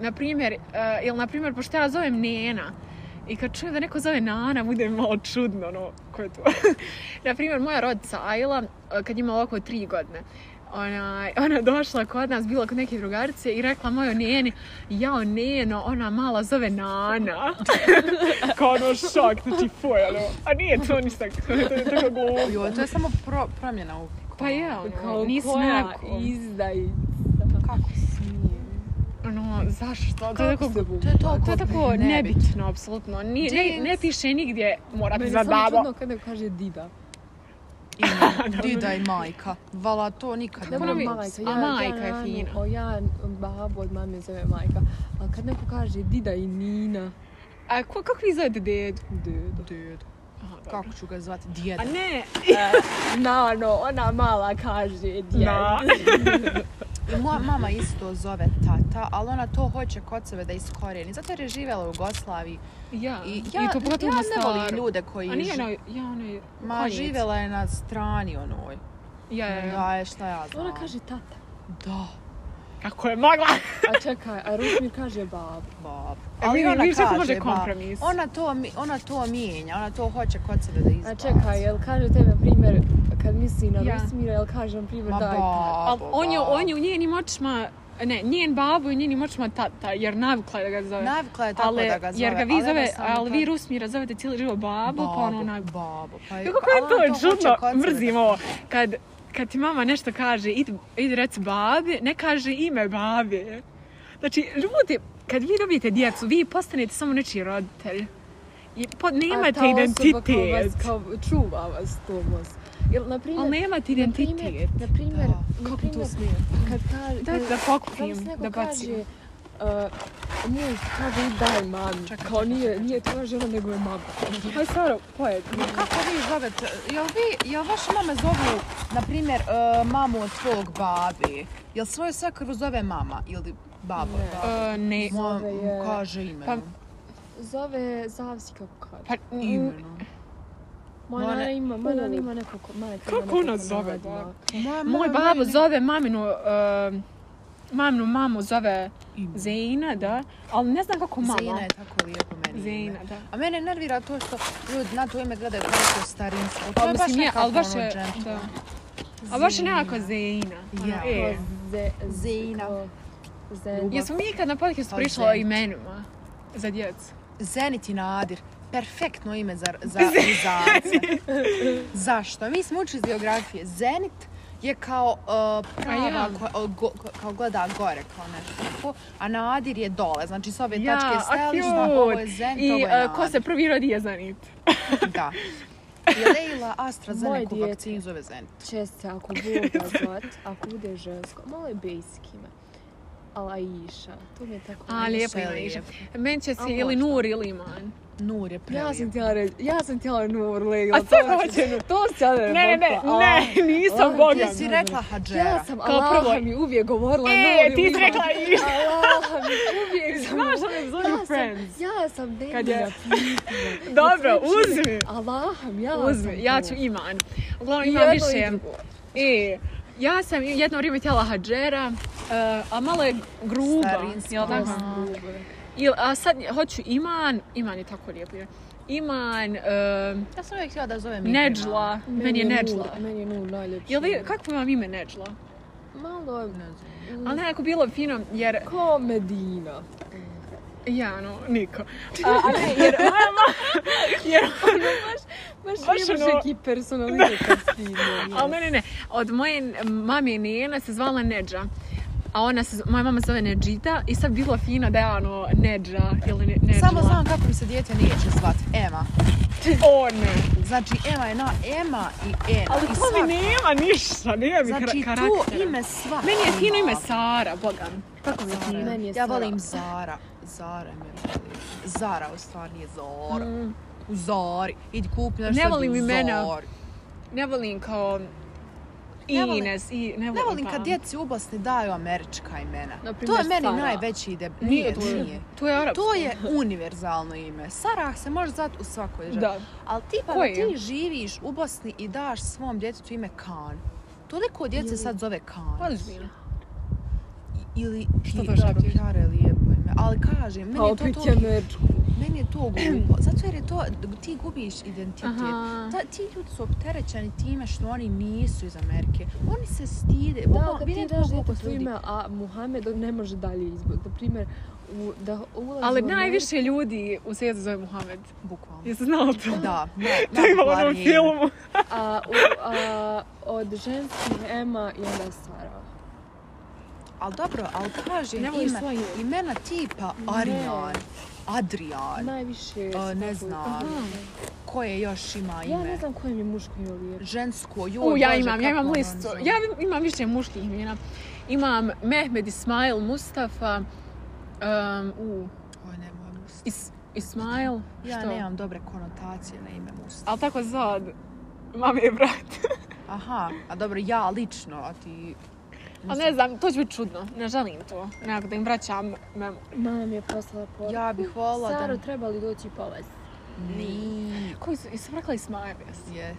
S1: na primjer, eh, jel na primjer, pošto ja zovem Nena, I kad čujem da neko zove Nana, bude mi malo čudno, ono, ko je to? na primjer, moja rodica Ajla, eh, kad je imala oko tri godine, ona, ona došla kod nas, bila kod neke drugarice i rekla mojoj neni, jao neno, ona mala zove Nana. Kao ono šok, znači fuj, ono, a nije to ništa, to je, to je tako glupo.
S3: Jo, to je samo pro, promjena u
S1: Pa ja, ono, nisi
S2: koja
S1: neko.
S2: izdajica.
S3: kako
S2: Smije.
S1: Ono, zašto? To je
S2: Kako
S1: tako
S2: se budi?
S3: To je toliko
S1: To je tako
S3: nebitno.
S1: nebitno, apsolutno. Ni, ne, ne piše nigdje, mora ti
S2: Meni
S1: za
S2: je samo
S1: babo.
S2: čudno kad neko kaže dida.
S3: Dida i majka. Vala to nikad
S1: Kako
S3: ne
S2: Dobro,
S1: nam
S3: mogu.
S1: je-
S2: majka,
S1: a majka je
S2: Nanu,
S1: fina.
S2: O ja babu od mame zove majka. A kad neko kaže dida i Nina,
S1: A ko, kako vi zovete dedu?
S2: dedo.
S3: Dida.
S1: Aha, dobro.
S3: Kako ću ga zvati? Djeda.
S1: A ne,
S2: E, Na, no, ona mala kaže djed.
S1: na.
S3: I moja mama isto zove tata, ali ona to hoće kod sebe da iskorijeni. Zato jer je živjela u Jugoslaviji.
S1: Ja,
S3: I ja,
S1: ja, I to pogotovo
S3: ja
S1: na
S3: ne volim
S1: staru.
S3: ljude koji...
S1: A nije
S3: ži-
S1: na, ja ono onaj,
S3: Ma,
S1: konjic.
S3: živjela je na strani onoj. E,
S1: e, Ja, ja, ja.
S3: Da, je šta ja znam.
S2: Ona kaže tata.
S3: Da.
S1: Kako je mogla?
S2: A čekaj, a Rusmir kaže bab.
S3: Bob.
S1: Ali
S3: ona
S1: vidiš da
S3: kaže,
S1: može
S3: ba,
S1: kompromis.
S3: Ona to, mi- ona to mijenja, ona to hoće kod sebe da izbaci.
S2: A čekaj, jel kaže tebe primjer kad misli na
S1: Ja.
S2: Rusmira, jel kaže na primjer
S3: Ma
S2: daj tad?
S1: Al
S3: babo,
S1: on je,
S3: babo.
S1: on je u njenim očima, ne, njen babu i njenim očima tata, jer navikla je da ga zove.
S3: Navikla je tako
S1: ali,
S3: da ga zove.
S1: jer ga vi
S3: ali
S1: zove,
S3: jednostavno
S1: ali
S3: to-
S1: vi Rusmira zovete cijeli život babu, pa ono onaj...
S3: Babo,
S1: Kako
S3: pa ali ona
S1: je to
S3: hoće
S1: čudno,
S3: kod sebe
S1: mrzim
S3: da-
S1: ovo. Kad, kad ti mama nešto kaže, idi, idi reci babi, ne kaže ime babe. Znači, ljudi, kad vi dobijete djecu, vi postanete samo nečiji roditelj. I po, ne
S2: A
S1: imate
S2: ta osoba Kao vas,
S1: identitet.
S2: kao čuva vas to vas. Jel, na primjer,
S1: Ali nemate
S2: na primjer,
S1: identitet.
S2: na primjer,
S1: Kako
S2: na
S1: to
S2: primjer,
S1: smije?
S2: kad kaže,
S1: Daj da
S2: Znam se
S1: pokupim,
S2: neko
S1: da
S2: kaže,
S1: bacim.
S2: uh, muž kaže i daj mami. kao nije, nije tvoja žena, nego je mama. Pa stvarno, pojedi.
S3: Kako vi zovete, jel vi, jel vaše mame zovu, na primjer, e, mamu od svog babi? Jel svoju svekru zove mama ili babo?
S2: Ne.
S3: babo?
S1: E, ne,
S3: Ma,
S2: Zove je-
S3: kaže ime.
S1: Pa-
S2: Zove Zavsi kako kaže.
S1: pa n-
S3: Imenom.
S2: Moja
S3: Mone-
S2: nana ima, moja nana
S1: U.
S2: ima nekoliko, ima nekoliko.
S1: Kako
S2: nekoliko
S1: ona zove
S2: narodina.
S1: babo?
S3: Moja
S1: Moj
S3: mama
S1: babo
S3: meni-
S1: zove maminu, e, maminu mamu zove
S3: Ime.
S1: Zeina, da, ali ne znam kako mama.
S3: Zina je tako lijepo meni
S1: Zeina,
S3: ime.
S1: da.
S3: A mene nervira to što ljudi na to ime gledaju kao neko starinsko. To
S1: Pa
S3: je baš
S1: mislim je,
S3: nekako
S1: ali baš
S3: ono
S1: je,
S3: džentlmen.
S1: da. A baš je nekako Zeina. ono,
S3: Ja.
S1: e.
S2: Kao ze,
S3: Zina.
S2: kao Zen.
S1: Jesmo mi ikad na podcastu
S3: Pa
S1: pričali o
S3: Zen.
S1: imenima za djecu?
S3: Zenit i Nadir. Perfektno ime za, za Rizance. Zašto? Mi smo učili iz geografije. Zenit je kao uh, prava,
S1: ja.
S3: koja- o, go- ko- kao gleda gore, kao nešto tako, a Nadir je dole, znači s ove
S1: Ja,
S3: tačke
S1: a
S3: stajališ,
S1: cute.
S3: da ovo je Zenit,
S1: I
S3: ovo je
S1: e, ko se prvi rodi je Zenit.
S3: Nadir. Da. I Leila AstraZeneca
S2: Moje
S3: vakcinu zove Zenit.
S2: Česte, ako bude zvat, ako bude žensko, malo je basic ime. Ali Aisha, to mi je tako...
S1: A, lijepo
S3: je
S1: ima Iša.
S3: lijepo.
S1: Meni će se
S2: A,
S1: ili
S2: možda.
S1: Nur ili Iman.
S3: Nur je prelijep.
S2: Ja sam htjela reći, ja sam htjela Nur Leila.
S1: A
S2: to
S1: sad
S2: hoću-
S1: hoće Nur.
S2: To sam htjela reći.
S1: Ne, ne, ne,
S2: Boga, a. znači?
S1: ne, nisam
S2: Ona-
S1: Boga.
S3: Ti si rekla Hadžera.
S2: Ja sam,
S1: Kao
S2: Allah
S1: prvo-
S2: mi uvijek govorila
S1: E,
S2: Nur
S1: ti si
S2: Leila.
S1: rekla Iša.
S2: Allah mi uvijek sam...
S1: Znaš da me
S2: Ja
S1: zovu
S2: sam-
S1: Friends.
S2: Ja sam Demi
S1: Kad je-
S2: zapitala.
S1: Dobro,
S2: Sve čini-
S1: uzmi.
S2: Allaham, ja sam
S1: Uzmi, ja
S2: to.
S1: ću Iman. Uglavnom
S2: I
S1: imam
S2: jedno i
S1: više.
S2: drugo.
S1: E, ja sam jedno vrijeme htjela Hadžera, e, a malo je gruba.
S3: Starinska.
S1: Jel tako?
S2: Dosta grubo je.
S1: Il, a sad hoću Iman, Iman je tako lijepo ime. Iman, e,
S3: Ja sam uvijek htjela da zovem ime.
S1: Nedžla, meni je
S2: Nur-
S1: Nedžla.
S2: Meni je Nur najljepši.
S1: Jel vi, kako vam ime Nedžla?
S2: Malo je...
S3: Ne znam.
S1: Ali nekako bilo fino, jer,
S2: Ko Medina.
S1: ja no, niko. A, a ne, jer moja ma- jer,
S2: Baš
S1: Baš
S2: imaš
S1: ono-
S2: neki personalitet kad stigne.
S1: ali mene ne, od moje mame i njena se zvala Nedža. A ona se, moja mama se zove Nedžita i sad bilo fino da je ono Nedža ili ne, Nedžla.
S3: Samo znam kako mi se dijete neće zvati. Ema.
S1: O ne.
S3: Znači, Ema je na Ema i Ema.
S1: Ali
S3: I
S1: to
S3: svaka-
S1: mi nema ništa, nema mi
S3: Znači,
S1: kara-
S3: tu
S1: karaktera.
S3: ime sva.
S1: Meni je fino ime Sara, bogam. Kako mi je
S3: Zara.
S1: fino?
S2: Meni je
S3: Ja
S2: Sara.
S3: volim Zara. Zara mi je volim. Zara u stvari nije Zara. U Zari. Idi kupi nešto
S1: Mm. Ne volim
S3: u
S1: imena.
S3: Zari.
S1: Ne volim kao
S3: Ne volim-
S1: Ines i ne volim,
S3: Ne volim kad
S1: tam.
S3: djeci u Bosni daju američka imena. to
S2: Naprimjer,
S3: je meni
S2: Sara.
S3: najveći deb...
S1: Nije
S3: Nije,
S1: to,
S3: nije.
S1: to je arapsko.
S3: To je univerzalno ime. Sarah se može zvati u svakoj državi.
S1: Da.
S3: Ali ti pa
S1: Koje
S3: da
S1: je?
S3: ti živiš u Bosni i daš svom djetetu ime Kan. Toliko djece sad zove Kan.
S2: Pa
S1: Ozbiljno.
S3: I- ili
S1: Što
S3: što
S1: baš
S3: dobro,
S1: tako?
S3: Jara je lijepo ime. Ali
S2: Pa
S3: kažem, meni je to,
S2: opet
S3: to,
S2: je Nedžla.
S3: meni je to glupo. Zato jer je to, ti gubiš identitet.
S1: Aha.
S3: Ta, ti ljudi su opterećeni time što oni nisu iz Amerike. Oni se stide.
S2: Da,
S3: Bukvalno,
S2: kad ti
S3: vidite
S2: daš
S3: koliko
S2: djetetu
S3: ljudi-
S2: ime, a Muhammed on ne može dalje izbog. Na primjer, u, da ulazi
S1: Ali
S2: u Ameriku-
S1: najviše ljudi u svijetu zove Muhammed.
S3: Bukvalno.
S1: Jesi znala to?
S3: Da, ne,
S1: To ima u onom
S3: najpopularnije ime.
S1: filmu.
S2: A, u, a, od ženskih Ema i onda Sara.
S3: Ali dobro, ali kažem,
S1: Ne volim
S3: ime,
S1: svoje.
S3: imena tipa Arijan, Adrijan,
S2: Najviše...
S3: A, ne
S2: su tako-
S3: znam. koje još ima ime?
S2: Ja ne znam koje mi je muško ime lijepo.
S3: Žensko, joj,
S1: U, ja
S3: Bože,
S1: imam, ja
S3: kako
S1: imam
S3: ono
S1: listu.
S3: zove.
S1: Ja imam više muških imena. Imam Mehmed Ismail Mustafa. Um, u,
S3: Oj, ne, moja lista.
S1: Is, Ismail.
S3: Ja
S1: što?
S3: nemam dobre konotacije na ime Mustafa.
S1: Ali tako zad, mami je brat.
S3: Aha, a dobro, ja lično, a ti...
S1: Ali ne znam, to će biti čudno. Ne želim to. Nekako da im vraćam memo.
S2: Mama mi je poslala poruku.
S3: Ja bih volila da...
S2: Saro, treba ovaj li doći povesti?
S3: Ni.
S1: Koji su, jesam rekla Ismail, jes?
S3: Yes.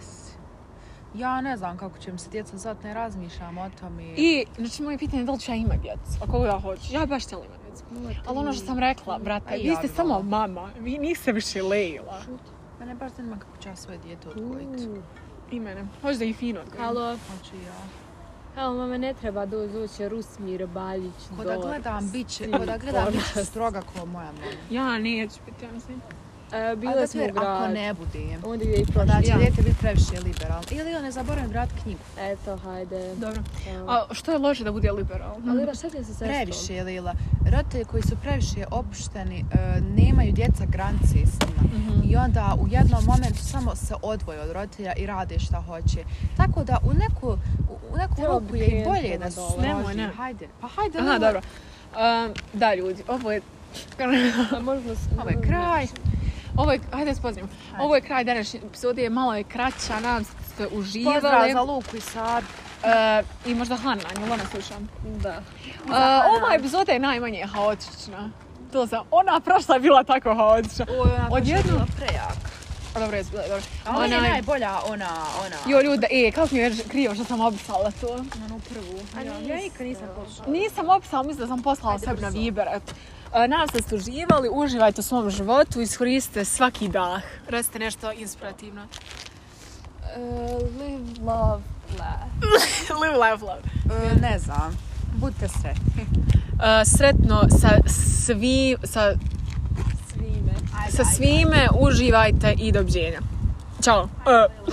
S3: Ja ne znam kako će mi se djeca zvat, ne razmišljam o tom i...
S1: I, znači, moje pitanje je da li ću ja imat djecu, ako ja hoću. Ja baš htjela imat djecu. Ali ono što sam rekla, brate,
S3: Pa i
S1: vi
S3: ja
S1: ste
S3: bi
S1: samo
S3: voljela.
S1: mama, vi niste više Leila.
S3: Mene baš zanima kako ću ja svoje dijete odgojiti.
S1: I mene. Hoćeš da ih fino odgojim.
S5: Halo,
S3: Hoću i ja.
S5: halo, mama ne treba doći, doće Rusmir, Baljić,
S3: Ko da gledam, bit će, ko da gledam, bit će stroga ko moja mama.
S1: Ja neću biti, ja mislim.
S5: E,
S3: A
S5: bile
S3: da
S5: smo u
S3: te- Ako
S5: gradu.
S3: ne budem.
S5: Onda ide i
S3: Onda
S5: prošli.
S3: će
S5: Ja.
S3: dijete biti previše liberalno. Ili ja ne zaboravim vrat knjigu.
S5: Eto, hajde.
S1: Dobro.
S5: Evo.
S1: A što je loše da bude liberalno?
S5: Ali da šta ti je sa sestrom?
S3: Previše je Lila. Roditelji koji su previše opušteni, e, nemaju djeca granice s njima.
S1: Mhm.
S3: I onda u jednom momentu samo se odvoje od roditelja i rade šta hoće. Tako da u neku, u- u neku
S5: Trebalo bi
S3: ruku je i bolje
S5: krenuti
S3: da se
S5: odavde.
S3: složi.
S1: Nemoj, ne.
S3: Hajde, pa hajde
S1: Aha,
S3: Lila.
S1: dobro. Um, da, ljudi, ovo je...
S5: A možda... s-
S3: Ovo je kraj.
S1: Ovo je, ajde spoznimo. Ovo je kraj današnje epizode, malo je kraća, nadam se da ste uživali.
S3: Pozdrav za Luku i Sabu.
S1: E, I možda Hanna, nju ona slušam.
S5: Da.
S1: E, ova epizoda je najmanje haotična. To sam, ona prošla je bila tako haotična.
S3: Oj, ona
S1: Odjednom-
S3: Odjedno prejak.
S1: A, Dobro, je bila, dobro.
S3: A ona je
S1: Onaj-
S3: najbolja, ona, ona.
S1: Jo, ljude, e, kako mi je krivo što sam opisala to.
S3: Onu prvu.
S5: A ja nikad nisam pošla.
S1: Nisam opisala, mislim da sam poslala sebi na Viber. eto. E, Nadam se da ste uživali, uživajte u svom životu, iskoristite svaki dah. Recite nešto inspirativno.
S5: Live, love, laugh.
S1: Live, laugh, love.
S3: E, ne znam. Budite sretni.
S1: E, sretno sa, svi, sa,
S5: Svime.
S1: sa svime, uživajte i doviđenja. Ćao. E.